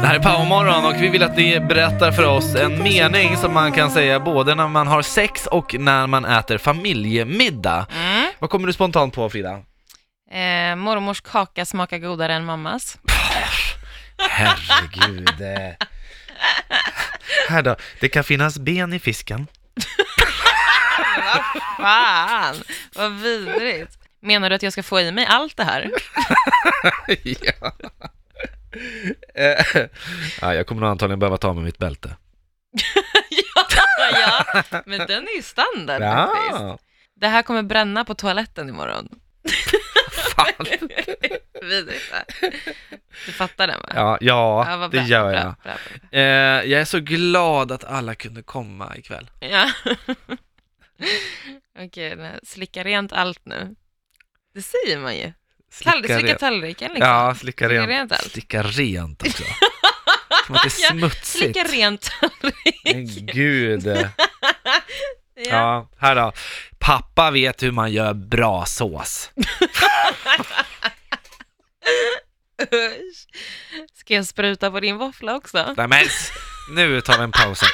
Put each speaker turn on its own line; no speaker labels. Det här är Powermorgon och vi vill att ni berättar för oss en mening som man kan säga både när man har sex och när man äter familjemiddag.
Mm.
Vad kommer du spontant på Frida?
Eh, mormors kaka smakar godare än mammas.
Herregud. eh. Här då, det kan finnas ben i fisken.
Fan, vad vidrigt. Menar du att jag ska få i mig allt det här?
ja. Eh, ja, jag kommer nog antagligen behöva ta med mitt bälte.
ja, ja, men den är ju standard faktiskt.
Ja.
Det här kommer bränna på toaletten imorgon.
Fan.
vidrigt va? Du fattar den va?
Ja, ja,
vad
det
bra,
gör
bra,
jag.
bra, bra.
Eh, jag är så glad att alla kunde komma ikväll.
Ja. Okej, nej, slicka rent allt nu. Det säger man ju. Tall- slicka
rent.
tallriken liksom.
Ja, slicka
Slicka
rent.
rent allt.
Slicka rent också. Som att det är
Ja,
smutsigt.
Slicka rent tallriken.
Men gud.
Ja.
Ja, här då. Pappa vet hur man gör bra sås.
Usch. Ska jag spruta på din våffla också?
Nej men s- nu tar vi en paus. här.